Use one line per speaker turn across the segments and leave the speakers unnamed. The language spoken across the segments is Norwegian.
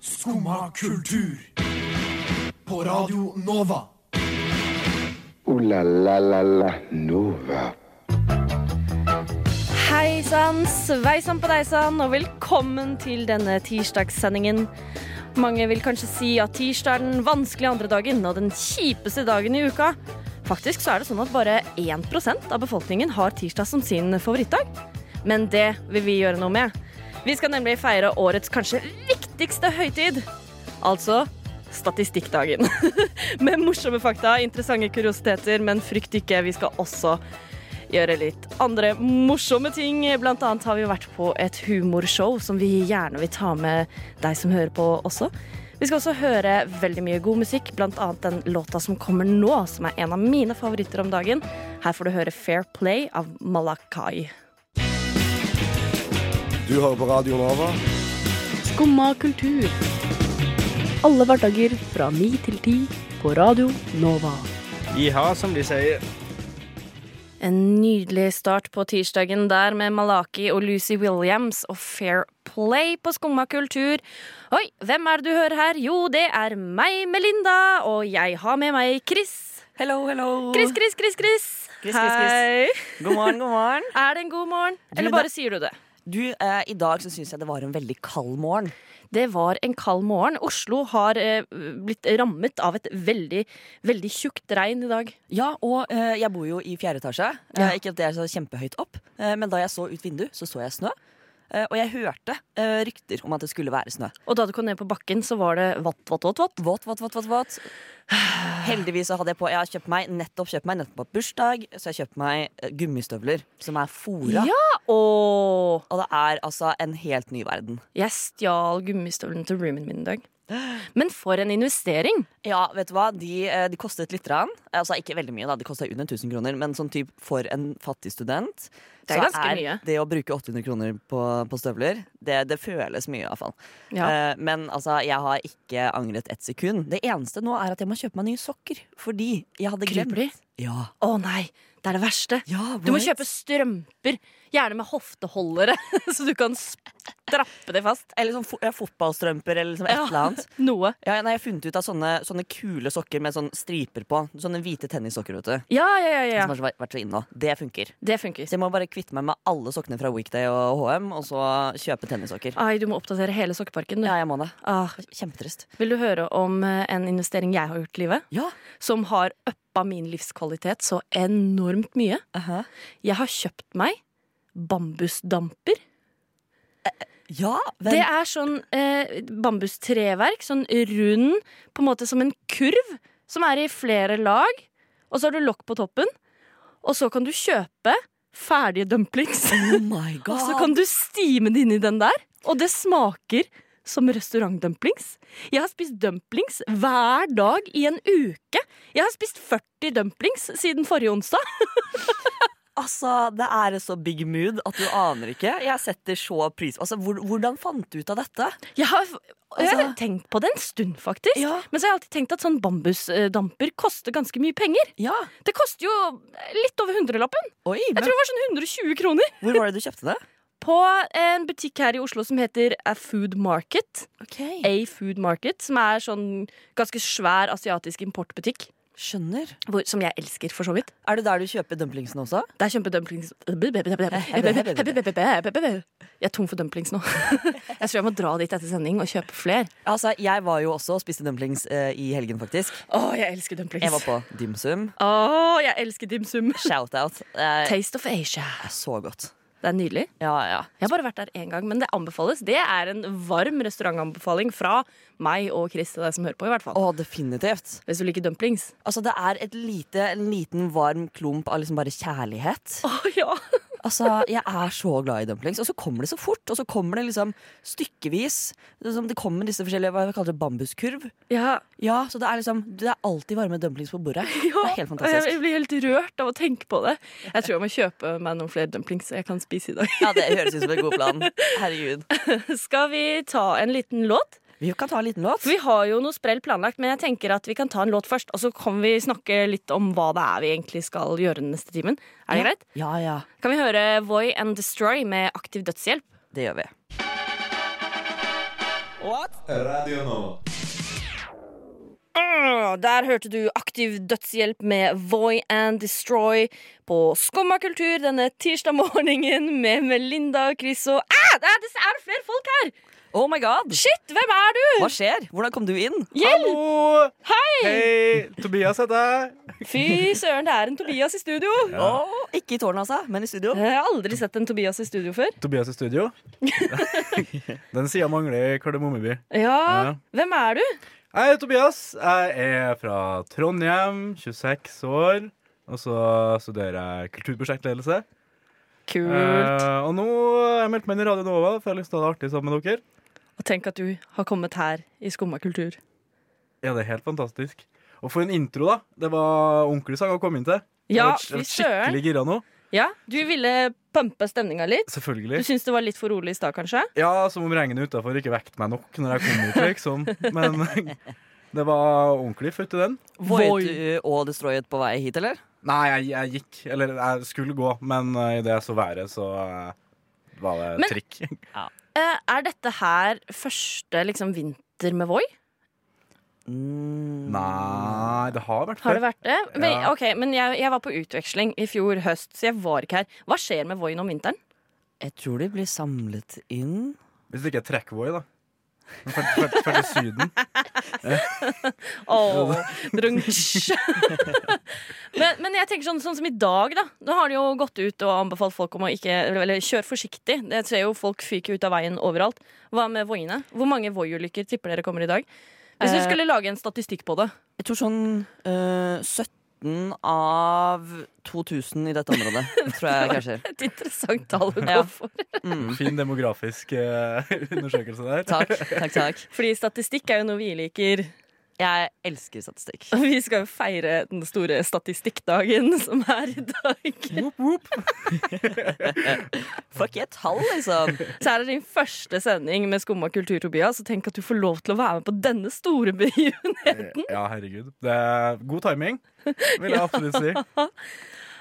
Skumma kultur. På Radio Nova.
Ooh la la la la Nova.
Hei sann, sveisann på deg sann, og velkommen til denne tirsdagssendingen. Mange vil kanskje si at tirsdag er den vanskelige andre dagen og den kjipeste dagen i uka. Faktisk så er det sånn at bare 1 av befolkningen har tirsdag som sin favorittdag. Men det vil vi gjøre noe med. Vi skal nemlig feire årets kanskje viktigste høytid. Altså statistikkdagen. Med morsomme fakta, interessante kuriositeter, men frykt ikke, vi skal også gjøre litt andre morsomme ting. Blant annet har vi vært på et humorshow som vi gjerne vil ta med deg som hører på også. Vi skal også høre veldig mye god musikk, blant annet den låta som kommer nå, som er en av mine favoritter om dagen. Her får du høre Fair Play av Malakai.
Du hører på Radio Nova.
Skumma kultur. Alle hverdager fra ni til ti på Radio Nova.
Jiha, som de sier.
En nydelig start på tirsdagen der med Malaki og Lucy Williams og Fair Play på Skumma kultur. Oi, hvem er det du hører her? Jo, det er meg, Melinda, og jeg har med meg Chris.
Hello, hello.
Chris, Chris, Chris, Chris.
Chris, Chris, Chris.
Hei.
God morgen, god morgen.
Er det en god morgen? Eller
da-
bare sier du det?
Du, eh, I dag så syns jeg det var en veldig kald morgen.
Det var en kald morgen. Oslo har eh, blitt rammet av et veldig, veldig tjukt regn i dag.
Ja, og eh, jeg bor jo i fjerde etasje. Eh, ikke at det er så kjempehøyt opp, eh, men da jeg så ut vinduet, så så jeg snø. Eh, og jeg hørte eh, rykter om at det skulle være snø.
Og da du kom ned på bakken, så var det vått, vått, vått. vått.
Våt, våt, våt, våt, våt. Heldigvis så hadde jeg på Jeg har kjøpt meg nettopp kjøpt meg nettopp bursdag, så jeg har kjøpt meg eh, gummistøvler som er fora.
Og
Og det er altså en helt ny verden.
jeg stjal gummistøvlene til roomien min i dag. Men for en investering!
Ja, vet du hva? De, eh, de kostet litt. Rann. Altså, ikke veldig mye, da. de kosta under 1000 kroner. Men sånn typ for en fattig student
Det er
så
ganske mye.
det å bruke 800 kroner på, på støvler, det, det føles mye iallfall.
Ja.
Eh, men altså, jeg har ikke angret et sekund. Det eneste nå er at jeg må kjøpe meg nye sokker. Fordi jeg hadde glemt
Kryper de?
Ja.
Å nei, det er det verste.
Ja,
Du må
right.
kjøpe strømper, gjerne med hofteholdere, så du kan strappe det fast.
Eller sånn fo ja, fotballstrømper eller liksom et
Ja.
eller annet.
Noe.
Ja, nei, jeg har funnet ut av sånne, sånne kule sokker med sånne striper på. Sånne hvite tennissokker, vet du.
Ja, ja, ja. ja.
Som har så vært- vært så inne nå. Det funker.
Det funker.
Så jeg må bare kvitte meg med alle sokkene fra Weekday og HM, og så kjøpe tennissokker.
Ai, du må oppdatere hele sokkeparken. Du.
Ja, jeg må det.
Ah,
Kjempetrist.
vil du høre om eh, en investering jeg har gjort i livet?
Ja.
Som har uppa min livskvalitet så enormt mye. Jeg har kjøpt meg bambusdamper.
Ja, hvem?
Det er sånn eh, bambustreverk, sånn rund, på en måte som en kurv, som er i flere lag. Og så har du lokk på toppen. Og så kan du kjøpe ferdige dumplings.
Oh my god.
Og så kan du stime det inni den der. Og det smaker som restaurantdumplings. Jeg har spist dumplings hver dag i en uke. Jeg har spist 40 dumplings siden forrige onsdag.
Altså, det er så big mood at du aner ikke. Jeg setter så pris Altså, hvor, hvordan fant du ut av dette?
Jeg har, jeg har
Altså-
tenkt på det en stund, faktisk.
Ja.
Men så har jeg alltid tenkt at sånn bambusdamper koster ganske mye penger.
Ja.
Det koster jo litt over hundrelappen.
Oi,
Jeg
men
tror det var sånn 120 kroner.
hvor var det du kjøpte det?
På en butikk her i Oslo som heter A Food Market.
Ok.
A Food Market, som er sånn ganske svær asiatisk importbutikk.
Skjønner.
hvor, som jeg elsker, for så vidt.
Er det der du kjøper dumplingsene også?
Det er kjempedumplings... Jeg er tom for dumplings nå. Jeg tror jeg må dra dit etter sending og kjøpe fler.
Altså, Jeg var jo også og spiste dumplings eh, i helgen, faktisk.
Å, jeg elsker dumplings.
Jeg var på Dim Sum.
Å, jeg elsker dim sum.
Shout-out. Eh,
Taste of Asia.
så godt.
Det er nydelig.
Ja, ja.
Jeg har bare vært der én gang, men det anbefales. Det er en varm restaurantanbefaling fra meg og Chris til deg som hører på, i hvert fall.
Å, definitivt.
Hvis du liker dumplings.
Altså, det er et lite, en liten varm klump av liksom bare kjærlighet.
Å ja.
Altså, Jeg er så glad i dumplings. Og så kommer det så fort. Og så kommer det liksom stykkevis. Det, er som det kommer disse forskjellige hva kaller det, bambuskurv.
ja.
Ja, så Det er liksom, det er alltid varme dumplings på bordet.
Ja,
Det er helt
og jeg- Jeg
fantastisk.
blir helt rørt av å tenke på det. Jeg tror jeg må kjøpe meg noen flere dumplings jeg kan spise i dag.
Ja, Det høres ut som en god plan. Herregud.
Skal vi ta en liten låt?
Vi kan ta en liten låt.
For vi har jo noe sprell planlagt, men jeg tenker at vi kan ta en låt først. Og så kan vi snakke litt om hva det er vi egentlig skal gjøre den neste timen. Er det greit?
Ja, ja.
Kan vi høre Voi and Destroy med Aktiv dødshjelp?
Det gjør vi.
Radio Nova.
Ah, Der hørte du Aktiv dødshjelp med Voy and Destroy på Skumma kultur denne tirsdag morgenen med Melinda og Chris og ah, det er, det er flere folk her!
Oh my god!
Shit, hvem er du?
Hva skjer? Hvordan kom du inn?
Hjelp!
Hallo!
Hei!
Oh, Hei! Tobias heter jeg.
Fy søren, det er en Tobias i studio.
Åh, ikke i tårnet, altså, men i studio.
Jeg har aldri sett en Tobias i studio før.
Tobias i studio. Den sida mangler Kardemommeby.
Ja,
Ja.
hvem er du?
Jeg heter Tobias. Jeg er fra Trondheim, 26 år. Og så studerer jeg kulturprosjektledelse.
Kult.
Eh, og nå har jeg meldt meg inn i Radio Nova, for jeg har lyst til å ha det artig sammen med dere.
Og tenk at du har kommet her i Skumma kultur.
Ja, det er helt fantastisk. Og for en intro, da. Det var ordentlig sang å komme inn til. Jeg
Ja,
var- jeg var
fy søren.
Skikkelig gira nå.
Ja, du ville pumpe stemninga litt.
Selvfølgelig.
Du syns det var litt for rolig i stad, kanskje?
Ja, som om regnet utafor ikke vekket meg nok når jeg kom hit, liksom. Men det var ordentlig futt i den.
Void du og Destroyed på vei hit, eller?
Nei, jeg, jeg gikk. Eller jeg skulle gå, men eh, i det jeg så været, så eh, var det
Men-
trikk.
Eh, er dette her første liksom, vinter med Voi?
Mm.
Nei, det har vært
Har det
før.
vært det? Men,
Ja.
ok, men jeg, jeg var på utveksling i fjor høst, så jeg var ikke her. Hva skjer med Voi om vinteren?
Jeg tror de blir samlet inn.
Hvis det ikke er trekkvoi, da. Men Før før- før til Syden.
Åh, drunch. men, men jeg tenker sånn, sånn som i dag, da. Nå har de jo gått ut og anbefalt folk om å ikke Eller kjør forsiktig. Jeg ser jo folk fyker ut av veien overalt. Hva med Voiene? Hvor mange Voi-ulykker tipper dere kommer i dag? Hvis du
Eh.
skulle lage en statistikk på det.
Jeg tror sånn eh, 17 av 2000 i dette området, tror jeg kanskje.
Et interessant tall å gå
Ja.
for.
Mm.
Fin demografisk eh, undersøkelse der.
Takk, takk, takk.
Fordi statistikk er jo noe vi liker.
Jeg elsker statistikk.
Og Vi skal jo feire den store statistikkdagen som er i dag.
Whoop, whoop.
Fuck jeg tall, liksom.
Så her er din første sending med Skumma kultur, Tobias. Og tenk at du får lov til å være med på denne store begivenheten.
Ja, herregud. Det er god timing, vil jeg absolutt si.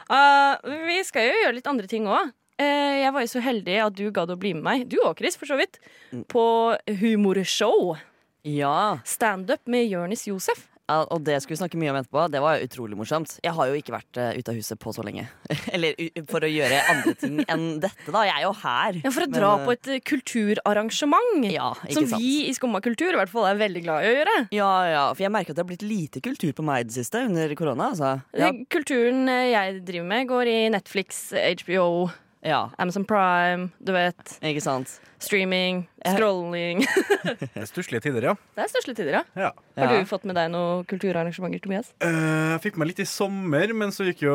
Eh, vi skal jo gjøre litt andre ting òg. jeg var jo så heldig at du gadd å bli med meg, du og Chris, for så vidt,
Mm.
på humorshow.
Ja,
Standup med Jonis Josef.
ja, og det skal vi snakke mye om etterpå. Det var utrolig morsomt. Jeg har jo ikke vært eh, ute av huset på så lenge. Eller u- for å gjøre andre ting enn dette, da. Jeg er jo her.
Ja, for å
Men,
dra
eh,
på et eh, kulturarrangement.
Ja,
som
ikke sant.
vi i Skumma kultur i hvert fall er veldig glad i å gjøre.
Ja, ja, for jeg merker at det har blitt lite kultur på meg i det siste under korona. Altså. Ja,
Den Kulturen eh, jeg driver med, går i Netflix, eh, HBO,
ja,
Amazon Prime, du vet.
ikke sant.
Streaming,
Jeg-
scrolling.
Det er stusslige tider, ja.
Det er stusslige tider, ja.
ja.
Har
Ja.
du fått med deg noen kulturarrangementer, Tobias?
Eh, Jeg fikk meg litt i sommer, men så gikk jo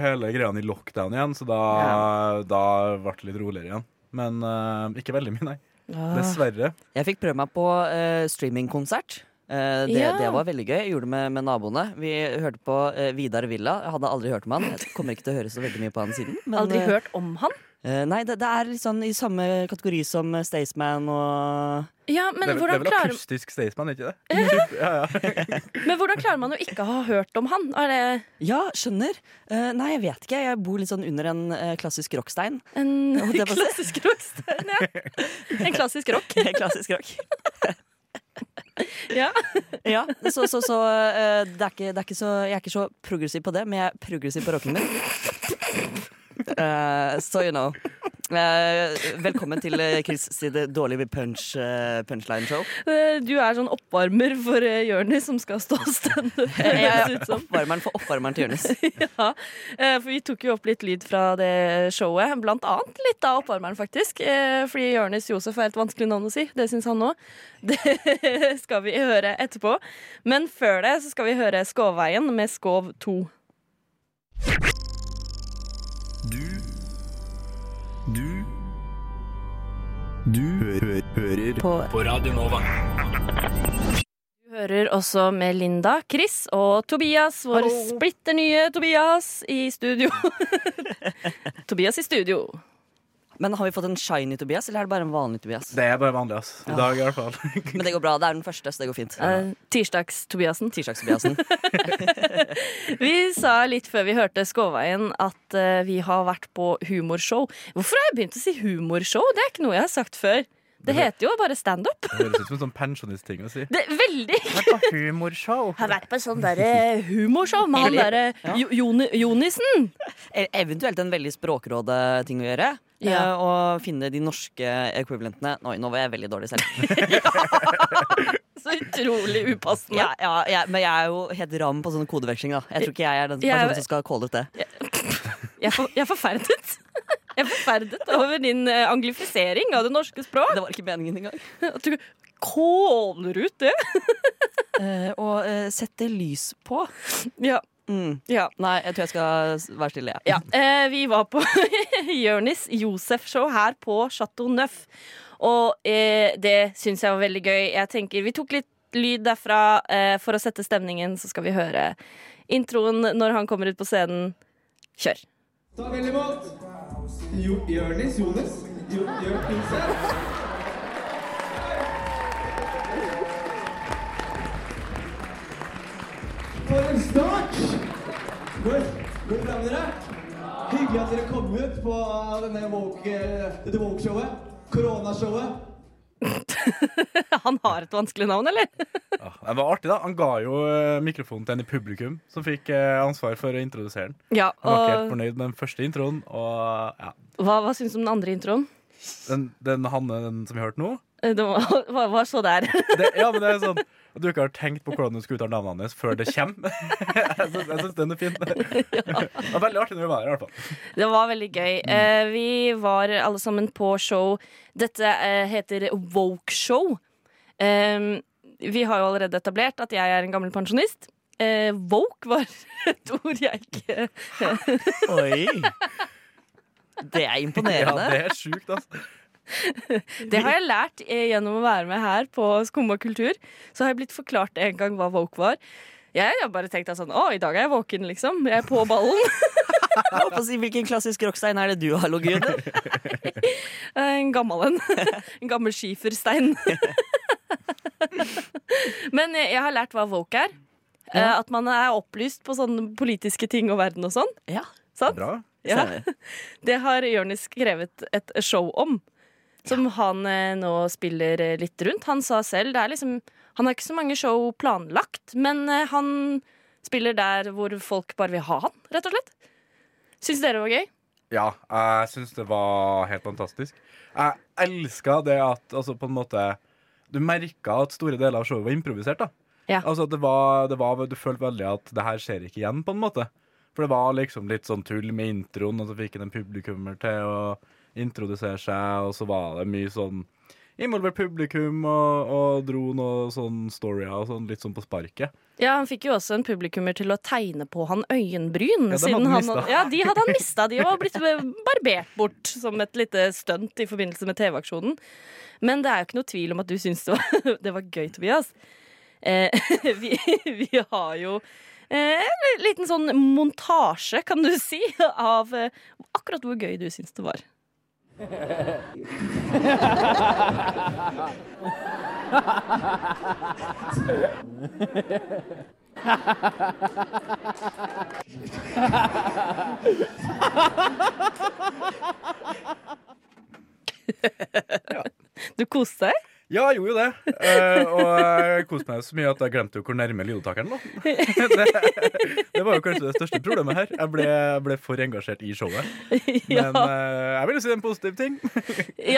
hele greia i lockdown igjen, så da, da ble det litt roligere igjen. Men eh, ikke veldig mye, nei. Dessverre.
Jeg fikk prøve meg på eh, streamingkonsert. Eh, det,
Ja.
det var veldig gøy. Jeg gjorde det med, med naboene. Vi hørte på eh, Vidar Villa. Jeg hadde aldri hørt om han. Jeg kommer ikke til å høre så veldig mye på han siden. men,
Aldri
eh,
hørt om han?
eh, nei, det, det er litt sånn i samme kategori som eh, Staysman og
Ja, men
det, er vel- det
hvordan,
er vel
klarer,
akustisk Staysman, ikke det? ja, ja.
men hvordan klarer man å ikke ha hørt om han? Er det
Ja, skjønner. Eh, nei, jeg vet ikke. Jeg bor litt sånn under en eh, klassisk rockstein.
en
Holdt jeg på å si?
klassisk rockstein? Ja. En klassisk rock.
klassisk rock.
Ja.
Ja, så, så, så eh, det er ikke, det er ikke så, jeg er ikke så progressiv på det, men jeg er progressiv på rocken min. Eh, so you know. Eh, velkommen til eh, Chris sitt dårlige punch, eh, punchline-show.
Eh, Du er sånn oppvarmer for eh, Jonis som skal stå standup. høres det ut som.
Oppvarmeren for oppvarmeren til Jonis.
Ja. Eh, For vi tok jo opp litt lyd fra det showet. Blant annet litt av oppvarmeren, faktisk. Eh, Fordi Jonis Josef er et vanskelig navn å si. Det syns han òg. Det skal vi høre etterpå. Men før det så skal vi høre Skovveien med Skov 2.
Du Du Du hø hø hører på. Radio Nova.
Du hører også med Linda, Chris og Tobias, vår splitter nye Tobias i studio. Tobias i studio.
Men har vi fått en shiny Tobias, eller er det bare en vanlig Tobias?
Det er bare vanlig, ass. I dag i hvert fall.
Men det går bra. Det er den første, så det går fint.
Eh, Tirsdags-Tobiasen.
Tirsdags-Tobiasen.
Vi sa litt før vi hørte Skåveien at eh, vi har vært på humorshow. Hvorfor har jeg begynt å si humorshow? Det er ikke noe jeg har sagt før. Det heter jo bare standup.
Det høres ut som en sånn pensjonistting å si.
Det er Veldig
Vært på humorshow.
Har vært på sånn derre humorshow med han derre Jo- Joni- Jonisen.
E- Eventuelt en veldig språkråde ting å gjøre.
Ja.
eh, Og finne de norske equivalentene. Oi, nå var jeg veldig dårlig selv.
Så utrolig upassende.
Ja, ja, ja, men jeg er jo helt ram på sånn kodeveksling. da Jeg tror ikke jeg er den
Jeg-
personen som skal calle ut det.
Jeg, er for, jeg er forferdet. Jeg er forferdet over din eh, anglifisering av det norske språk.
Det var ikke meningen engang.
At du kåler ut det.
Eh, og eh, sette lys på.
Ja.
Mm.
ja.
Nei, jeg tror jeg skal s- være stille, jeg.
Ja, eh, vi var på Jørnis Josef-show her på Chateau Neuf. Og eh, det syns jeg var veldig gøy. Jeg tenker Vi tok litt lyd derfra eh, for å sette stemningen, så skal vi høre introen når han kommer ut på scenen. Kjør.
Ta vel imot jo, Jørnis, Jonis, jo, Jørnis For en start! Hvor- Går det bra med dere? Hyggelig at dere kom ut på denne woke, eh, dette woke-showet. Koronashowet.
Han har et vanskelig navn, eller?
Ja, det var artig, da. Han ga jo eh, mikrofonen til en i publikum, som fikk eh, ansvar for å introdusere den.
Ja,
Han var ikke helt
og
fornøyd med den første introen. Og ja,
hva, hva syns du om den andre introen?
den, den Hanne den som vi hørte nå
Eh, Det var, hva- hva så der.
det, Ja, men det er sånn at du ikke har tenkt på hvordan du skal uttale navnet hans før det kommer. Jeg syns- jeg syns den er fin. Det var veldig artig når vi var her, i hvert fall.
Det var veldig gøy. Eh, vi var alle sammen på show. Dette eh, heter Woke Show. Eh, vi har jo allerede etablert at jeg er en gammel pensjonist. Eh, woke var et ord jeg ikke
Det
Ja,
er imponerende.
det er sjukt, altså.
Det har jeg lært eh, gjennom å være med her på Skumma kultur. Så har jeg blitt forklart en gang hva woke var. Jeg har bare tenkt at sånn, å, i dag er jeg våken, liksom. Jeg er på ballen.
Jeg håper å si, Hvilken klassisk rockstein er det du har ligget under?
En gammel en. En gammel skiferstein. Men jeg jeg har lært hva woke er. Eh, At man er opplyst på sånne politiske ting og verden og sånn.
Ja,
Sant?
Bra.
Ja. Det har Jonis skrevet et show om, som han eh, nå spiller eh, litt rundt. Han sa selv det er liksom Han har ikke så mange show planlagt, men eh, han spiller der hvor folk bare vil ha han, rett og slett. Syns dere det var gøy?
Ja, jeg syns det var helt fantastisk. Jeg elska det at altså på en måte Du merka at store deler av showet var improvisert. da
Ja.
Altså at det var, det var, Du følte veldig at det her skjer ikke igjen, på en måte. For det var liksom litt sånn tull med introen, og så fikk han en publikummer til å introdusere seg, og så var det mye sånn involvert publikum, og, og dro noe sånn storyer og sånn, litt sånn på sparket.
Ja, Han fikk jo også en publikummer til å tegne på han øyenbryn.
Ja, dem hadde
siden
han
han
mistet.
ja, De hadde han mista. De var blitt barbert bort som et lite stunt i forbindelse med TV-aksjonen. Men det er jo ikke noe tvil om at du syns det, var- det var gøy, Tobias. Eh, vi, vi har jo eh, en liten sånn montasje, kan du si, av eh, akkurat hvor gøy du syns det var. Du koste deg?
Ja, jeg gjorde jo det. Eh, og jeg koste meg så mye at jeg glemte jo hvor nærme lydtakeren lå. Det, det var jo kanskje det største problemet her. Jeg ble, jeg ble for engasjert i showet.
Ja.
Men eh, jeg vil jo si en positiv ting.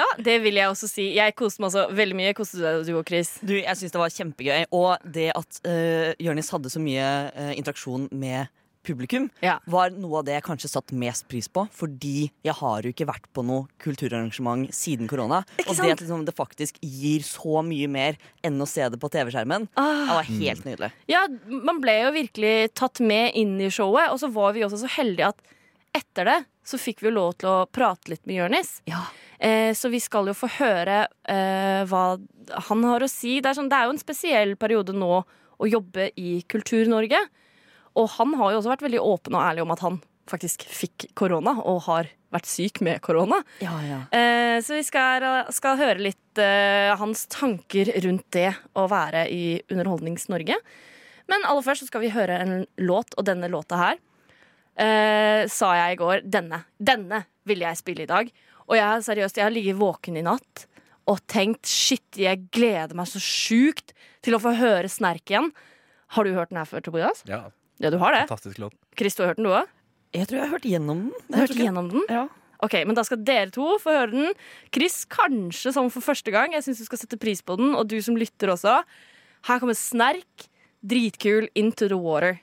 Ja, det vil jeg også si. Jeg koste meg også veldig mye. Koste du deg, du og Chris?
Du, jeg syns det var kjempegøy. Og det at uh, Jørnis hadde så mye eh, interaksjon med publikum,
Ja.
var noe av det jeg kanskje satt mest pris på. Fordi jeg har jo ikke vært på noe kulturarrangement siden korona. Og det at liksom, det faktisk gir så mye mer enn å se det på TV-skjermen, det var helt nydelig.
Ja, man ble jo virkelig tatt med inn i showet, og så var vi også så heldige at etter det så fikk vi jo lov til å prate litt med Jonis. Eh, så vi skal jo få høre eh, hva han har å si. Det er, sånn, det er jo en spesiell periode nå å jobbe i Kultur-Norge. Og han har jo også vært veldig åpen og ærlig om at han faktisk fikk korona, og har vært syk med korona.
Ja, ja.
Eh, så vi skal, skal høre litt eh, hans tanker rundt det å være i Underholdnings-Norge. Men aller først så skal vi høre en låt, og denne låta her eh, sa jeg i går Denne. Denne ville jeg spille i dag. Og jeg, har seriøst, jeg har ligget våken i natt og tenkt shit, jeg gleder meg så sjukt til å få høre Snerk igjen. Har du hørt den her før, Tobias?
Ja,
Ja, du har det.
fantastisk låt.
Chris, du har hørt den, du òg?
Jeg tror jeg har hørt gjennom den.
Hørt gjennom den?
Ja.
Ok, men Da skal dere to få høre den. Chris, kanskje sånn for første gang. Jeg syns du skal sette pris på den, og du som lytter også. Her kommer Snerk. Dritkul Into the Water.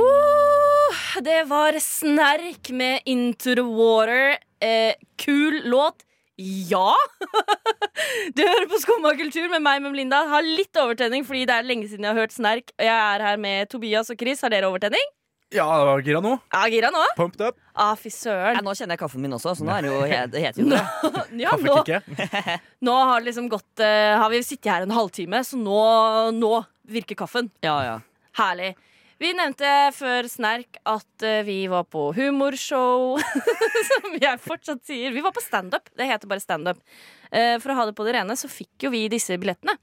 Uh, det var Snerk med Into the Water. Eh, kul låt. Ja! Du hører på Skumma kultur med meg, med Linda. Har litt overtenning fordi det er lenge siden jeg har hørt Snerk. Og Jeg er her med Tobias og Chris. Har dere overtenning?
Ja, det var gira nå.
Ja, gira nå?
Pumped up.
Ah, fy søren.
Ja, nå kjenner jeg kaffen min også, så nå er det jo, det heter jo det.
Ja, nå,
Kaffekicket.
nå har, det liksom gått, eh, har vi sittet her en halvtime, så nå, nå virker kaffen.
Ja, ja.
Herlig. Vi nevnte før Snerk at eh, vi var på humorshow, som jeg fortsatt sier. Vi var på standup. Det heter bare standup. Eh, For å ha det på det rene, så fikk jo vi disse billettene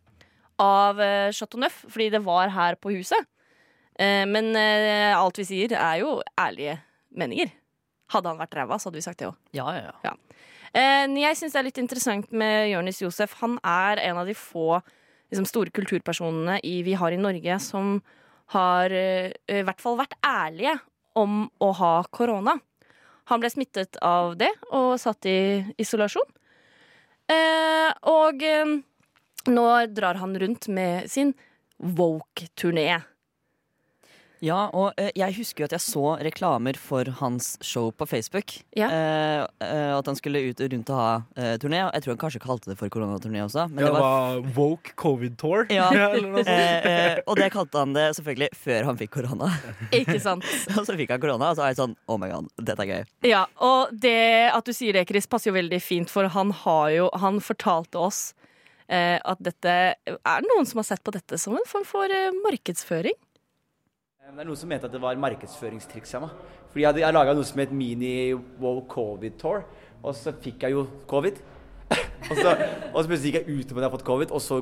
av eh, Chateau Neuf, fordi det var her på huset. Eh, Men eh, alt vi sier, er jo ærlige meninger. Hadde han vært ræva, så hadde vi sagt det òg.
ja, ja, ja.
Eh, Jeg synes det er litt interessant med Jonis Josef. Han er en av de få liksom, store kulturpersonene i, vi har i Norge som har eh, i hvert fall vært ærlige om å ha korona. Han ble smittet av det og satt i isolasjon. Eh, og eh, nå drar han rundt med sin woke-turné.
Ja, og eh, jeg husker jo at jeg så reklamer for hans show på Facebook.
Ja.
Eh, eh, at han skulle ut rundt og ha eh, turné. Jeg tror han kanskje kalte det for koronaturné også. Men
Ja,
det var,
Woke Covid Tour.
Ja.
eller noe sånt.
eh, eh, og det kalte han det selvfølgelig før han fikk korona.
Ikke sant?
og så fikk han korona, og så er jeg sånn Oh my god, dette er gøy.
Ja, og det at du sier det, Chris, passer jo veldig fint, for han har jo Han fortalte oss eh, at dette Er det noen som har sett på dette som en form for eh, markedsføring?
Men Det er noen som mente at det var markedsføringstriks av meg. Fordi jeg, hadde- jeg laga noe som het mini-wow-covid-tour, og så fikk jeg jo covid. og, så, og så plutselig gikk jeg ut om at jeg har fått covid, og så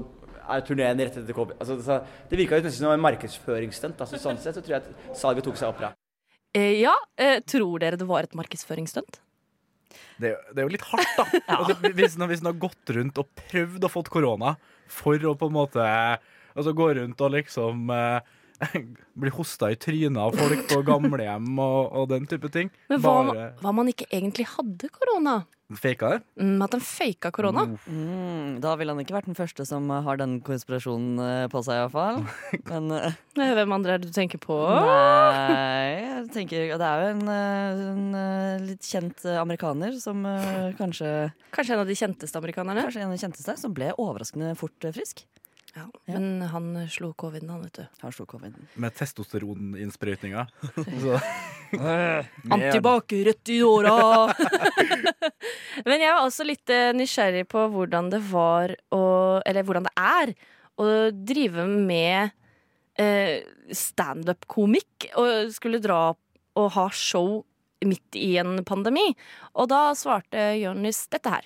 er turneen rett etter covid. Altså, så, det virka nesten som en markedsføringsstunt. Altså, sånn sett så tror jeg at salget tok seg opp. da.
Eh, ja. Eh, tror dere det var et markedsføringsstunt?
Det, er jo- det er jo litt hardt, da. altså, hvis, den- hvis den har gått rundt og prøvd å fått korona for å på en måte altså, gå rundt og liksom eh, bli hosta i trynet av folk på gamlehjem og, og den type ting
Men hva, om-
Bare
hva om han ikke egentlig hadde korona?
faka det.
Mm, at han faka korona?
Mm, da ville han ikke vært den første som eh, har den konspirasjonen eh, på seg, iallfall. Men eh,
Eh, Hvem andre er det du tenker på?
Nei, jeg tenker Det er jo en, eh, en eh, litt kjent eh, amerikaner som eh, kanskje
Kanskje en av de kjenteste amerikanerne?
Kanskje en av de kjenteste, som ble overraskende fort eh, frisk.
Ja. Men han eh, slo coviden, han, vet du.
Han slo coviden.
Med testosteroninnsprøytninga. Så-
Antibac rødt i åra! Men jeg var også litt eh, nysgjerrig på hvordan det var å Eller hvordan det er å drive med eh, standup-komikk og skulle dra og ha show midt i en pandemi. Og da svarte Jonis dette her.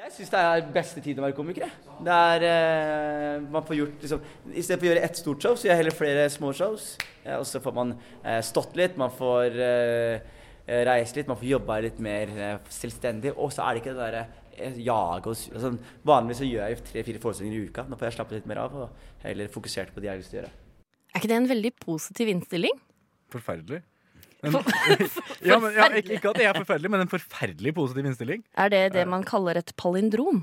Jeg syns det er beste tid å være komiker. jeg. Det er eh, man får gjort liksom I stedet for å gjøre ett stort show, så gjør jeg heller flere små shows. Eh, og så får man eh, stått litt, man får eh, eh, reist litt, man får jobba litt mer eh, selvstendig. Og så er det ikke det derre eh, jage og su- altså, Vanligvis så gjør jeg tre-fire forestillinger i uka. Nå får jeg slappe litt mer av og heller fokusert på det jeg har lyst til å gjøre.
Er ikke det en veldig positiv innstilling?
Forferdelig. Men, ja, men, ja, ikke, ikke at jeg er forferdelig, men en forferdelig positiv innstilling.
Er det det man kaller et palindrom?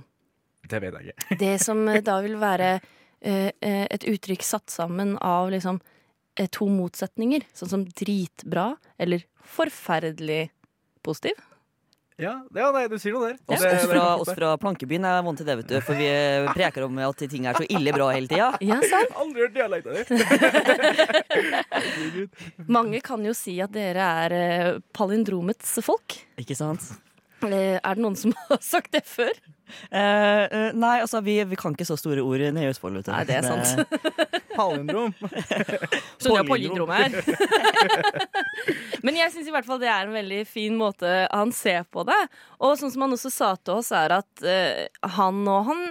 Det vet jeg ikke.
Det som da vil være eh, eh, et uttrykk satt sammen av liksom eh, to motsetninger, sånn som dritbra eller forferdelig positiv.
Ja, ja nei, du sier noe der.
Oss,
Det-
oss,
det-
fra, oss fra plankebyen er vondt til det, vet du. For vi eh, preker om at ting er så ille bra hele tida.
Ja, sant?
Aldri hørt dialekta di!
Mange kan jo si at dere er eh, palindromets folk.
Ikke sant?
Eh, Er det noen som har sagt det før?
Eh, eh, nei, altså, vi, vi kan ikke så store ord nede i Østfold, vet du.
Nei, det er sant.
Men, eh,
Palindrom.
Skjønner jeg
Palindrom.
palindromet er. Men jeg syns i hvert fall det er en veldig fin måte han ser på det. Og sånn som han også sa til oss, er at eh, han og han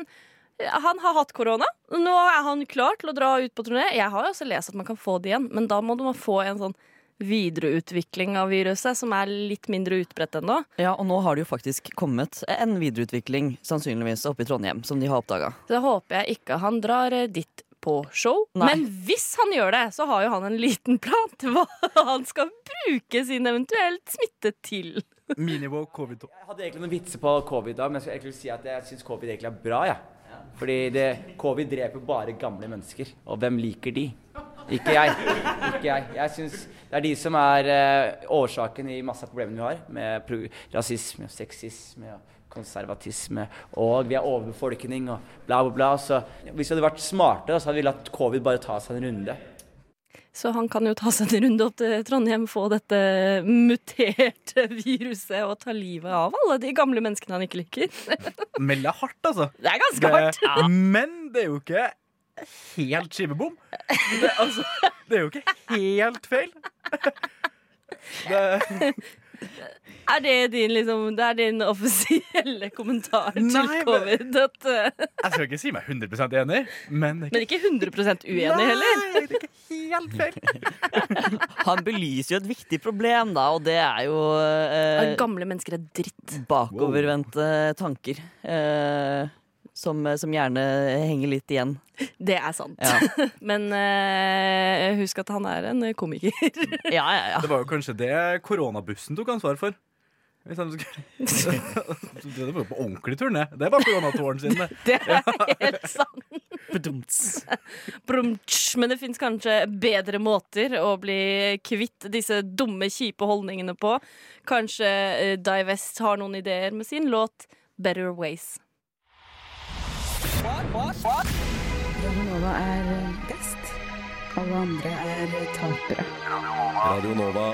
han har hatt korona. Nå er han klar til å dra ut på turné. Jeg har jo også lest at man kan få det igjen, men da må man få en sånn videreutvikling av viruset, som er litt mindre utbredt ennå.
Ja, og nå har det jo faktisk kommet en videreutvikling, sannsynligvis, oppe i Trondheim, som de har oppdaga.
Så håper jeg ikke han drar eh, dit på show.
Nei.
Men hvis han gjør det, så har jo han en liten plan til hva han skal bruke sin eventuelt smitte til.
Minivåk covid-2.
Jeg hadde egentlig noen vitser på covid da, men jeg skulle egentlig si at jeg syns covid egentlig er bra, jeg. Fordi det, covid dreper bare gamle mennesker. Og hvem liker de? Ikke jeg. Ikke jeg. Jeg synes Det er de som er eh, årsaken i masse av problemene vi har. Med pro rasisme, og sexisme og konservatisme. Og vi har overbefolkning og bla, bla, bla. Så hvis vi hadde vært smarte, da, så hadde vi latt covid bare ta seg en runde.
Så han kan jo ta seg en runde opp til Trondheim, få dette muterte viruset og ta livet av alle de gamle menneskene han ikke liker.
Melder hardt, altså.
Det er ganske hardt.
Det, men det er jo ikke helt skivebom. Det, altså, det er jo ikke helt feil. Det,
Er det din, liksom, det er din offisielle kommentar til
Nei, men-
covid? At, eh,
jeg skal ikke si meg 100 enig, men det er
men ikke 100 uenig heller?
Nei, det er ikke helt feil.
Han belyser jo et viktig problem, da, og det er jo eh,
At gamle mennesker er dritt.
bakovervendte tanker. Eh, som, som gjerne henger litt igjen.
Det er sant.
Ja,
Men eh, husk at han er en komiker.
ja, ja. ja.
Det var jo kanskje det koronabussen tok ansvar for. Hvis de skulle... Det var jo på ordentlig turné. Det var koronatoren sin. det.
Det er helt sant.
Bedumts.
Brumtsj. Men det fins kanskje bedre måter å bli kvitt disse dumme, kjipe holdningene på. Kanskje eh, Divest har noen ideer med sin låt Better Ways.
Radio Nova.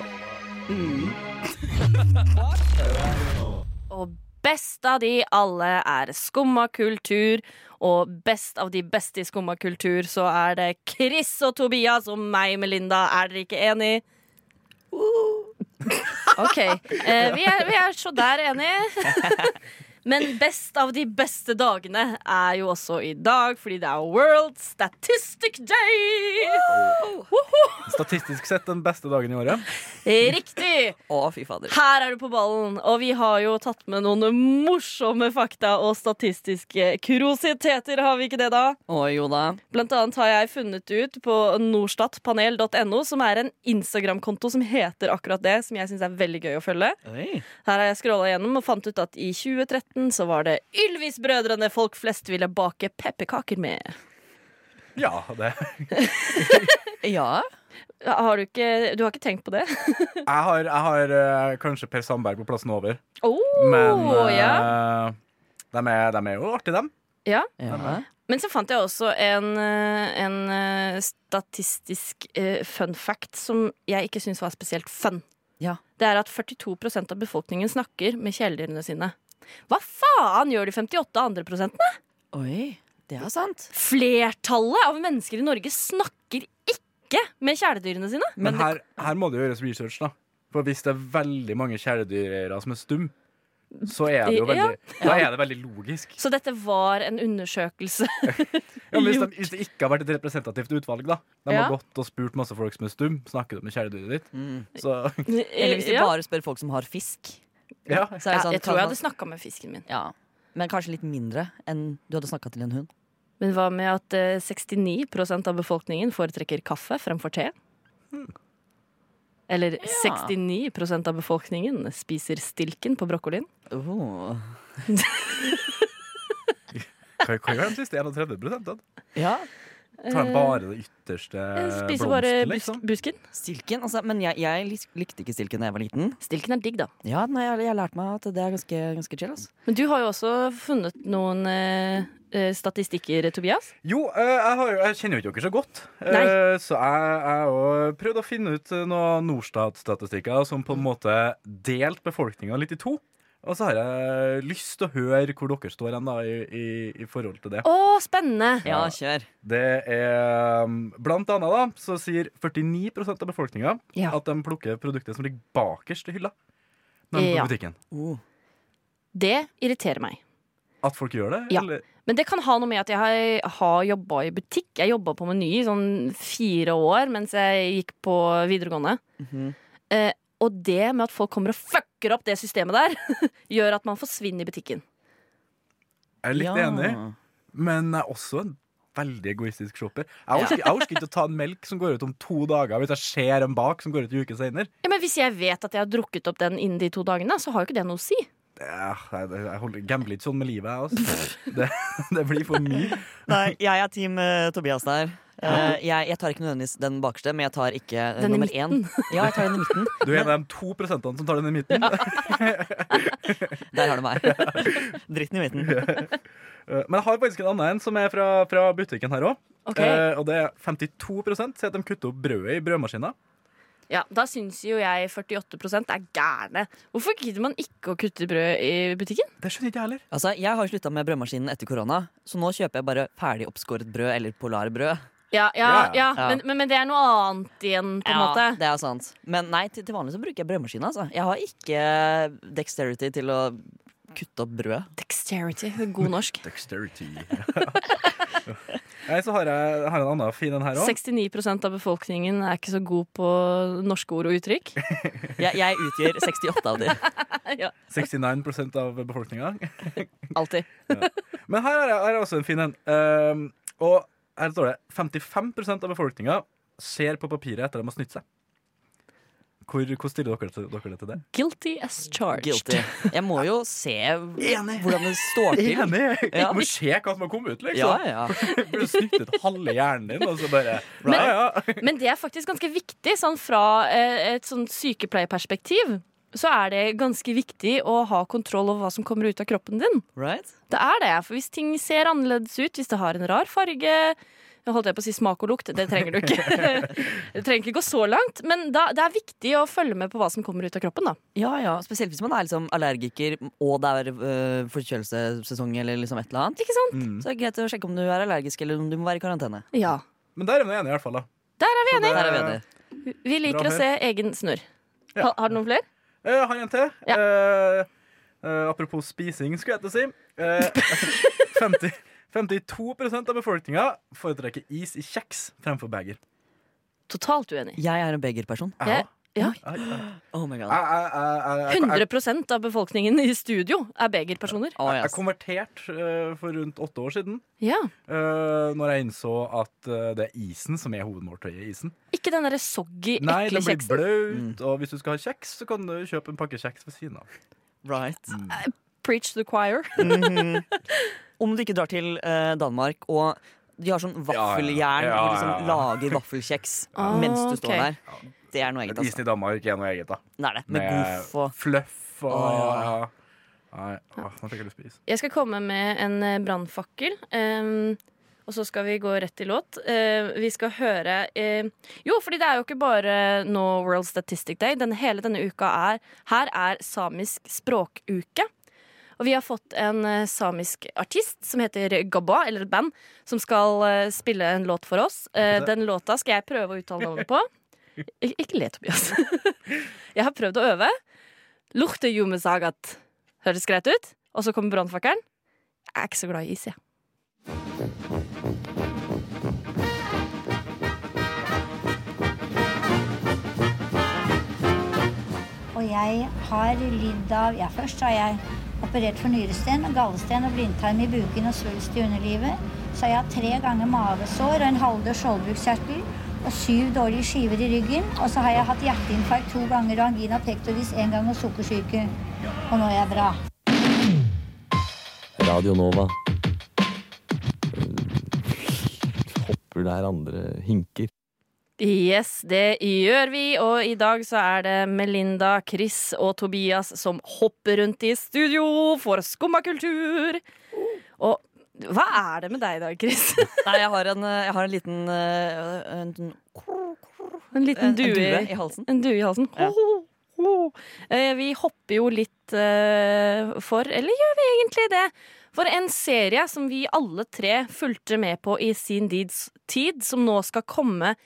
Og best av de alle er Skumma kultur. Og best av de beste i Skumma kultur, så er det Chris og Tobias og meg, Melinda. Er dere ikke enig? OK. Eh, vi, er, vi er så der enige. Men best av de beste dagene er jo også i dag, fordi det er World Statistic Day! Woho!
Statistisk sett den beste dagen i året.
Riktig!
Å, fy fader.
Her er du på ballen, og vi har jo tatt med noen morsomme fakta og statistiske kuriositeter, har vi ikke det da?
Å, jo da.
Blant annet har jeg funnet ut på norstatpanel.no, som er en Instagram-konto som heter akkurat det, som jeg syns er veldig gøy å følge. Her har jeg scrolla gjennom og fant ut at i 2013 så var det Ylvis-brødrene folk flest ville bake pepperkaker med.
Ja, det
Ja.
Har du ikke Du har ikke tenkt på det?
Jeg har, jeg har eh, kanskje Per Sandberg på plassen over.
Å,
Men eh,
ja.
de, er, de er jo artige, dem.
ja.
ja.
Men så fant jeg også en, eh, en eh, statistisk eh, fun fact som jeg ikke syns var spesielt fun.
Ja.
Det er at 42 av befolkningen snakker med kjæledyrene sine. Hva faen gjør de 58 andre prosentene?
Oi, det er sant.
Flertallet av mennesker i Norge snakker ikke med kjæledyrene sine.
Men, her, her må det gjøres research, da. For hvis det er veldig mange kjæledyrere som er stum, så er det jo
Ja.
veldig, da er det veldig logisk.
Så dette var en undersøkelse.
Ja, men hvis, de, hvis det ikke har vært et representativt utvalg, da. De
Ja.
har gått og spurt masse folk som er stum, snakket om kjæledyret ditt. Så
Eller hvis du
Ja.
bare spør folk som har fisk.
ja.
Så er
ja,
det sånn,
jeg tror
kan
jeg
man-
hadde snakka med fisken min.
ja. Men kanskje litt mindre enn du hadde snakka til en hund.
Men hva med at eh, 69 av befolkningen foretrekker kaffe fremfor te? Eller 69 av befolkningen spiser stilken på brokkolien.
Oh.
Hva hva gjør de siste 31 da?
Ja,
Tar de bare det ytterste
Eh, Spiser bare
blomsten,
busk busken.
liksom?
Stilken, altså, men jeg, jeg lik- likte ikke stilken da jeg var liten.
Stilken er digg, da.
Ja, nei, jeg, jeg lærte meg at det er ganske, ganske chill. Altså.
Men du har jo også funnet noen eh, eh, statistikker, Tobias.
Jo, eh, jeg, har jo, jeg kjenner jo ikke dere så godt. Eh,
Nei.
Så jeg jeg har jo prøvd å finne ut eh, noen Norstat-statistikker som på en måte delte befolkninga litt i to. Og så har jeg lyst til å høre hvor dere står hen da, i, i, i forhold til det.
Å, spennende!
Ja, kjør.
Det er um, Blant annet da, så sier 49 av befolkninga
Ja.
at de plukker produkter som ligger bakerst i hylla. Når de er på
Ja.
butikken.
Oh.
Det irriterer meg.
At folk gjør det?
Ja.
Eller?
Men det kan ha noe med at jeg har, har jobba i butikk. Jeg jobba på Meny i sånn fire år mens jeg gikk på videregående. eh, og det med at folk kommer og fucker opp det systemet der, gjør at man forsvinner i butikken.
Jeg er litt
Ja.
enig, men jeg er også en veldig egoistisk shopper. Jeg orker, jeg orker ikke å ta en melk som går ut om to dager, hvis jeg ser en bak som går ut en uke senere.
Ja, men hvis jeg vet at jeg har drukket opp den innen de to dagene, så har jo ikke det noe å si.
Det er- Jeg, jeg holder, gambler ikke sånn med livet, jeg. Altså. Det, det blir for mye.
Nei, jeg er team eh, Tobias der. Eh, jeg, jeg tar ikke nødvendigvis den bakerste, men jeg tar ikke eh,
Den i
nummer én. Ja, jeg tar den i midten.
Du er en av de to prosentene som tar den i midten.
Der har du meg. Dritten i midten.
Eh, Men jeg har faktisk en annen en som er fra, fra butikken her òg.
Ok.
og det er 52 sier at de kutter opp brødet i brødmaskina.
Ja, Da syns jo jeg 48 er gærne. Hvorfor gidder man ikke å kutte brød i butikken?
Det skjønner ikke jeg heller.
Altså, Jeg har slutta med brødmaskinen etter korona, så nå kjøper jeg bare ferdig oppskåret brød eller polarbrød.
Ja, ja,
Ja,
ja.
ja.
Men, men, men det er noe annet igjen, på en måte.
Det er sant. Men nei, til, til vanlig så bruker jeg brødmaskinen. Altså. Jeg har ikke dexterity til å kutte opp brød.
Dexterity. God norsk.
Dexterity. Nei, så har jeg, jeg har en annen fin en her òg.
69 av befolkningen er ikke så god på norske ord og uttrykk.
Jeg, jeg utgjør 68 av de.
ja,
69 av befolkninga.
alltid.
Men her er, her er også en fin en. Ehm, og her står det 55 av befolkninga ser på papiret etter de har snytt seg. Hvor, hvor stiller dere til, dere til det?
Guilty as charged.
Guilty. Jeg må jo se hvordan det står til.
Enig!
Ja.
Du må se hva som har kommet ut,
Ja,
liksom.
ja.
Burde snyttet halve hjernen din, og så bare
Men-
ja, ja.
Men det er faktisk ganske viktig. Sånn fra eh, et sånn sykepleierperspektiv så er det ganske viktig å ha kontroll over hva som kommer ut av kroppen din.
Right?
Det er det, for hvis ting ser annerledes ut, hvis det har en rar farge jeg holdt jeg på å si smak og lukt. Det trenger du ikke. Du trenger ikke gå så langt. Men da, det er viktig å følge med på hva som kommer ut av kroppen. da.
Ja, ja, Spesielt hvis man er liksom allergiker og det er øh, forkjølelsessesong eller liksom et eller annet.
Ikke sant?
Så er det greit å sjekke om du er allergisk eller om du må være i karantene.
Mm.
Ja.
Men der er vi enige, i hvert fall. da
Der er vi enige.
Der er vi enige.
Vi liker
Bra
å se egen snurr.
Ja.
Ha, har du noen flere?
Eh, Jeg har en til.
Ja.
Eh, eh, apropos spising, skulle jeg til å si. Eh, 50, 52 av befolkninga foretrekker is i kjeks fremfor beger.
Totalt uenig.
Jeg er en begerperson.
Jeg, ja.
Jeg- jeg-
Oh my
Ah,
god.
jeg- jeg- jeg-
100 av befolkningen i studio er begerpersoner.
Å,
Jeg
Ah, yes.
konverterte eh, for rundt åtte år siden,
Ja.
eh, når jeg innså at eh, det er isen som er hovedmåltøyet i isen.
Ikke den derre soggy,
Nei,
ekle
den blir
kjeksen.
bløt,
Mm.
og hvis du skal ha kjeks, så kan du kjøpe en pakke kjeks ved siden av. Mm.
Right.
Preach to the choir.
Om du ikke drar til øh, Danmark og de har sånn vaffeljern
Ja, ja, ja,
hvor de liksom
ja, ja.
lager vaffelkjeks
Ah,
mens du står
ok.
der. Det er noe eget,
Men isen
altså.
i Danmark er noe eget, da.
Det er det. Med goof og
fluff og
Åh.
ja. Nei, åh, nå fikk jeg lyst på is.
Jeg skal komme med en eh, brannfakkel. ehm, og så skal vi gå rett til låt. Eh, vi skal høre eh, Jo, fordi det er jo ikke bare nå World Statistic Day. Den, hele denne uka er Her er samisk språkuke. Og vi har fått en eh, samisk artist som heter Gabba, eller et band, som skal eh, spille en låt for oss. Eh, den låta skal jeg prøve å uttale navnet på. Ik ikke le, Tobias. jeg har prøvd å øve. Lukte jumesagat. Høres greit ut? Og så kommer brannfakkelen. Jeg er ikke så glad i is, jeg.
Og jeg har lidd av Ja, først har jeg operert for nyresten, gallesten og blindtarm i buken og svulst i underlivet. Så har jeg hatt tre ganger mavesår og en halvdød skjoldbruskkjertel. Og syv dårlige skiver i ryggen. Og så har jeg hatt hjerteinfarkt to ganger og angina pectoris én gang og sukkersyke. Og nå er jeg bra.
Radio Nova. Hopper der andre hinker.
Yes, det gjør vi, og i dag så er det Melinda, Chris og Tobias som hopper rundt i studio for skumma kultur. Og hva er det med deg i dag, Chris?
Nei, jeg har en, øh, jeg har en liten øh, en,
En
en,
liten
en due
due.
i halsen.
En due i halsen.
Ja.
Ho, ho, ho. Eh, Vi hopper jo litt eh, for, eller gjør vi egentlig det? For en serie som vi alle tre fulgte med på i sin dids tid, som nå skal komme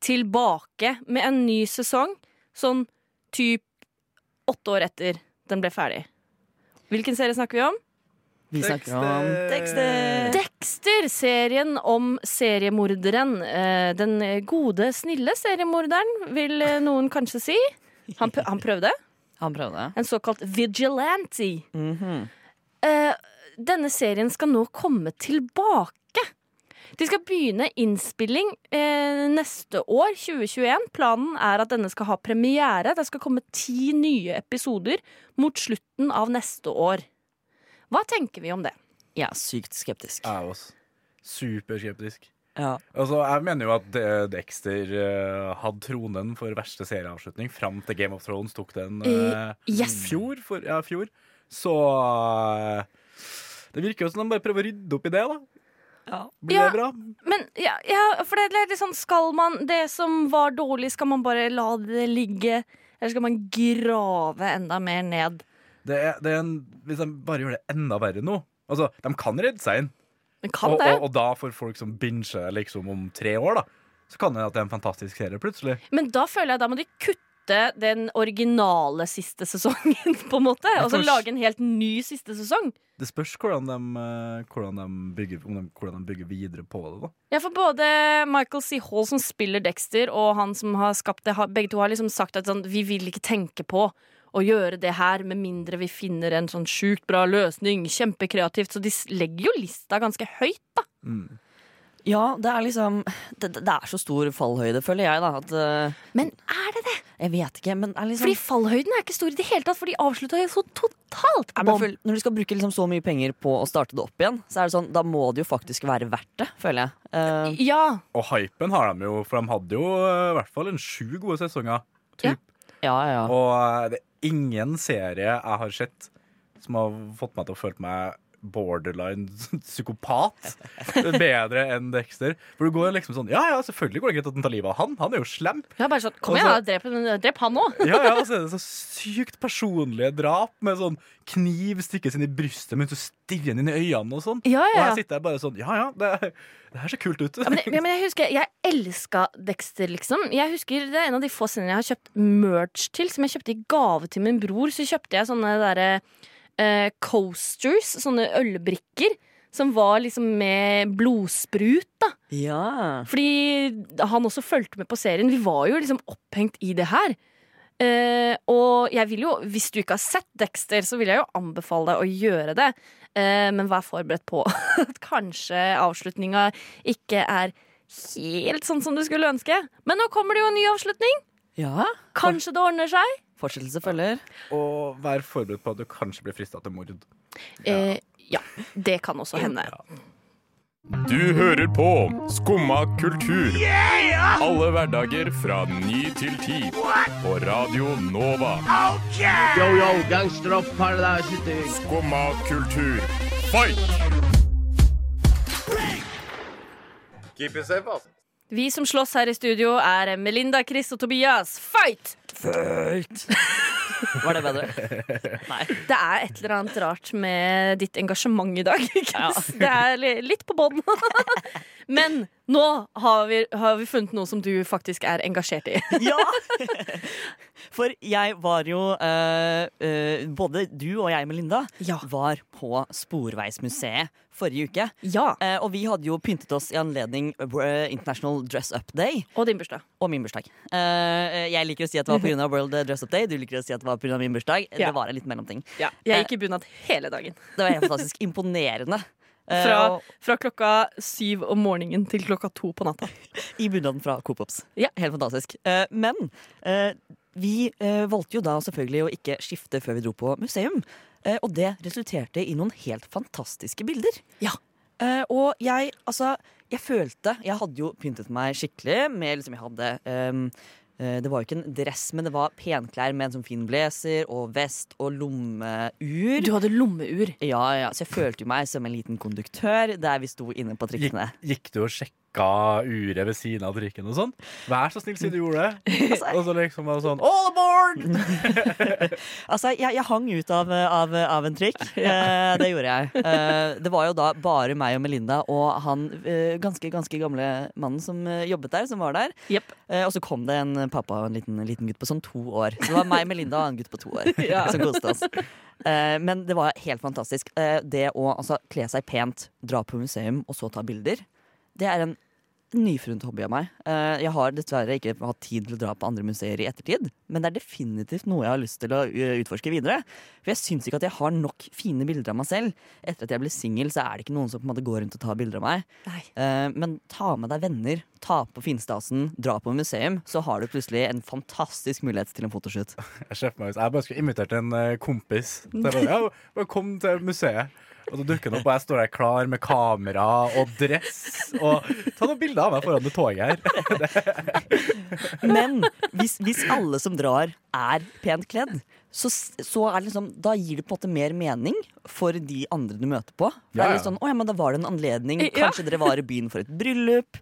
tilbake med en ny sesong, sånn typ åtte år etter den ble ferdig. Hvilken serie snakker vi om?
Vi snakker om
Eh,
tekster.
Dexter, serien om seriemorderen. Eh, Den gode, snille seriemorderen, vil eh, noen kanskje si. Han, pr- han prøvde.
Han prøvde.
En såkalt vigilante. Eh, denne serien skal nå komme tilbake. De skal begynne innspilling eh, neste år, 2021. Planen er at denne skal ha premiere. Det skal komme ti nye episoder mot slutten av neste år. Hva tenker vi om det?
Jeg er sykt skeptisk.
Jeg også. Superskeptisk.
Ja.
Altså, jeg mener jo at eh, Dexter eh, hadde tronen for verste serieavslutning fram til Game of Thrones tok den eh,
Eh, yes.
fjor, for, ja, fjor. Så eh, det virker jo som de bare prøver å rydde opp i det, da. Blir
Ja.
det bra?
Men ja, ja, for det er litt sånn Skal man det som var dårlig, skal man bare la det ligge? Eller skal man grave enda mer ned?
Det er, det er en, hvis de bare gjør det enda verre nå Altså, De kan redde seg inn.
Men kan
og,
det?
Og, og da for folk som binger liksom om tre år, da. Så kan det at det er en fantastisk serie plutselig.
Men da føler jeg da må de kutte den originale siste sesongen, på en måte. Og så
kanskje-
lage en helt ny siste sesong.
Det spørs hvordan de, eh, hvordan de, bygger, om de, hvordan de bygger videre på det. da
Ja, for både Michael C. Hall som spiller Dexter, og han som har skapt det, har- begge to har liksom sagt at sånn, vi vil ikke tenke på å gjøre det her med mindre vi finner en sånn sjukt bra løsning. Kjempekreativt. Så de s- legger jo lista ganske høyt, da.
Ja, det er liksom Det, det er så stor fallhøyde, føler jeg, da. At, eh,
men er det det?
Jeg vet ikke, men det er liksom
Fordi fallhøyden er ikke stor i det hele tatt, for de avslutta jo så totalt
Nei,
på
men
bånn.
føl- Når du skal bruke liksom så mye penger på å starte det opp igjen, så er det sånn, da må det jo faktisk være verdt det, føler jeg. Eh,
Ja.
Og hypen har de jo, for de hadde jo eh, i hvert fall en sju gode sesonger. Typ. Og eh, det er ingen serie jeg har sett som har fått meg til å føle meg borderline psykopat bedre enn Dexter. For du går liksom sånn Ja, ja, selvfølgelig går det greit at den tar livet av han. Han er jo slem.
Ja, bare sånn, Kom
Og
igjen,
så-
da, drep, drep han òg.
Ja, ja, og så er det så sykt personlige drap med sånn kniv stikkes inn i brystet mens du stirrer inn i øynene og sånn.
Ja, ja,
Og
ja.
jeg sitter der bare sånn Ja, ja, det, er- det her ser kult ut.
Ja, men, det- ja, men jeg husker, jeg elska Dexter, liksom. Jeg husker Det er en av de få scenene jeg har kjøpt merch til, som jeg kjøpte i gave til min bror. Så kjøpte jeg sånne derre eh, coasters, sånne ølbrikker, som var liksom med blodsprut, da.
Ja.
Fordi han også fulgte med på serien. Vi var jo liksom opphengt i det her. Eh, og jeg vil jo, hvis du ikke har sett Dexter, så vil jeg jo anbefale deg å gjøre det. Eh, men vær forberedt på at kanskje avslutninga ikke er helt sånn som du skulle ønske. Men nå kommer det jo en ny avslutning.
Ja.
Kanskje det ordner seg.
Fortsettelse følger.
Og vær forberedt på at du kanskje blir frista til mord.
Eh, ja, det kan også hende.
Du hører på Skumma kultur. Alle hverdager fra ny til ti. På Radio Nova.
Yo, yo, gangsteropp, paradise
Skumma kultur. Fight!
Keep it safe, ass.
Vi som slåss her i studio, er Melinda, Chris og Tobias. Fight!
Fight! Var det bedre? Nei.
Det er et eller annet rart med ditt engasjement i dag. Chris. Det er li- litt på bånn. Men nå har vi, har vi funnet noe som du faktisk er engasjert i.
Ja! For jeg var jo eh, eh, Både du og jeg, Melinda, var på Sporveismuseet forrige uke.
Eh,
og vi hadde jo pyntet oss i anledning eh, International Dress Up Day.
Og din bursdag.
Og min bursdag. Eh, jeg liker å si at det var pga. World Dress Up Day. Du liker å si at det var pga. min bursdag.
Ja.
Det var en liten mellomting.
Ja, jeg gikk i bunad hele dagen.
Det var helt fantastisk imponerende. Eh,
Fra,
og-
fra klokka syv om morgenen til klokka to på natta.
I bunaden fra Coop Ops. Helt fantastisk. Eh, men eh, vi eh, valgte jo da selvfølgelig å ikke skifte før vi dro på museum. Eh, og det resulterte i noen helt fantastiske bilder. Eh, og jeg, altså Jeg følte Jeg hadde jo pyntet meg skikkelig med liksom Jeg hadde ehm, eh, det var jo ikke en dress, men det var penklær med en sånn fin blazer og vest og lommeur.
Du hadde lommeur?
Ja, ja, Så jeg følte jo meg som en liten konduktør der vi sto inne på
Gikk,
trikkene.
gikk du og sjekka uret ved siden av drikken og sånn? Vær så snill, si du gjorde det. Og så liksom var det sånn Å,
altså, jeg, jeg hang ut av, av, av en trikk. Eh, det gjorde jeg. Eh, det var jo da bare meg og Melinda og han eh, ganske, ganske gamle mannen som eh, jobbet der, som var der. Eh, og så kom det en pappa og en liten, liten gutt på sånn to år. Så det var meg, Melinda og en gutt på to år
Ja.
som koste oss. Eh, men det var helt fantastisk. Eh, det å altså, kle seg pent, dra på museum og så ta bilder, det er en nyfunnet hobby av meg. Eh, jeg har dessverre ikke hatt tid til å dra på andre museer i ettertid, men det er definitivt noe jeg har lyst til å eh, utforske videre. For jeg syns ikke at jeg har nok fine bilder av meg selv. Etter at jeg ble singel, så er det ikke noen som på en måte går rundt og tar bilder av meg. Eh, men ta med deg venner, ta på finstasen, dra på museum, så har du plutselig en fantastisk mulighet til en fotoshoot.
Jeg ser for meg hvis jeg bare skulle invitert en eh, kompis. Så jeg bare, ja, bare kom til museet. Og så dukker han opp, og jeg står der klar med kamera og dress. Og ta noen bilder av meg foran det toget her.
Men hvis, hvis alle som drar er pent kledd, så, s- så er det liksom, da gir det på en måte mer mening for de andre du møter på. For det
Ja,
er
ja.
litt sånn, å ja, men da var det en anledning.
Ja.
Kanskje dere var i byen for et bryllup,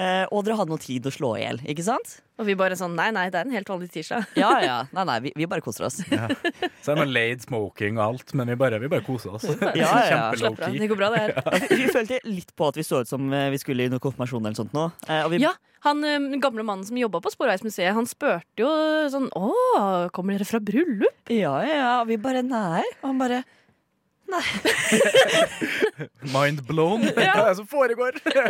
eh, og dere hadde noe tid å slå i hjel. Ikke sant?
Og vi bare sånn nei, nei, det er en helt vanlig tirsdag.
Ja, ja. Nei, nei, vi, vi bare koser oss.
Så er det noe laid smoking og alt, men vi bare, vi bare koser oss.
Ja, ja, ja.
Kjempe-low-key.
Vi følte litt på at vi så ut som eh, vi skulle i noe konfirmasjon eller sånt nå. eh, Og vi
Ja, han ø, gamle mannen som jobba på Sporveismuseet, han spurte jo sånn Å, kommer dere fra bryllup?
Ja, ja, ja. Og vi bare nei. Og han bare
Mind blown. Hva er det som foregår?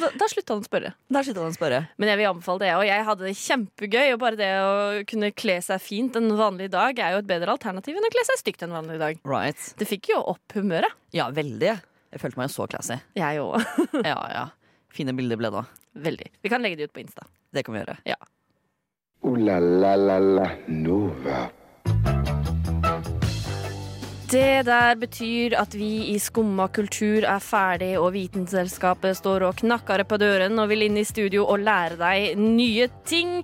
Da, da slutta han å spørre.
Der slutta han å spørre.
Men jeg vil anbefale det, og jeg hadde det kjempegøy. Og bare det å kunne kle seg fint en vanlig dag er jo et bedre alternativ enn å kle seg stygt en vanlig dag.
Right.
Det fikk jo opp humøret.
Ja, veldig. Jeg følte meg jo så classy.
Jeg òg.
ja, ja. Fine bilder ble da.
Veldig. Vi kan legge det ut på Insta.
Det kan vi gjøre.
Ja.
Ooh la la la la Nova.
Det der betyr at vi i Skumma kultur er ferdig, og Vitenselskapet står og knakker på døren og vil inn i studio og lære deg nye ting.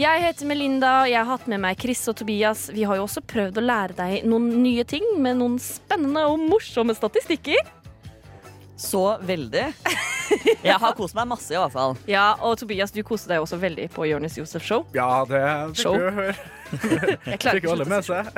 Jeg heter Melinda, og jeg har hatt med meg Chris og Tobias. Vi har jo også prøvd å lære deg noen nye ting med noen spennende og morsomme statistikker.
Så veldig. Jeg har kost meg masse, i hvert fall.
Ja, og Tobias, du koste deg også veldig på Jonis Josef Show.
Ja, det
Show.
fikk vi jo høre.
Jeg klarer
Fikk
ikke å
alle
slutte å
med seg.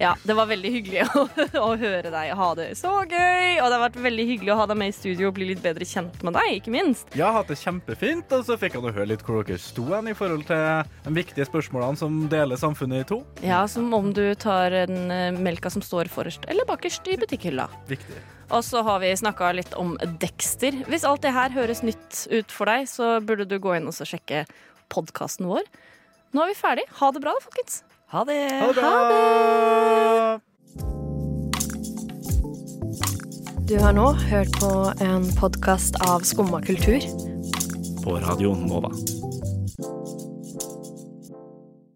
Ja, det var veldig hyggelig å, å høre deg ha det så gøy. Og det har vært veldig hyggelig å ha deg med i studio og bli litt bedre kjent med deg, ikke minst.
Ja, hatt det kjempefint, og så fikk han jo høre litt hvor dere sto hen i forhold til de viktige spørsmålene som deler samfunnet i to.
Ja, som om du tar en eh, melka som står forrest eller bakerst i butikkhylla.
Viktig.
Og så har vi snakka litt om Dexter. Hvis alt det her høres nytt ut for deg, så burde du gå inn og så sjekke podkasten vår. Nå er vi ferdig. Ha det bra, da, folkens.
Ha det.
Ha det.
Du har nå hørt på en podkast av Skumma kultur.
På Radio Nova.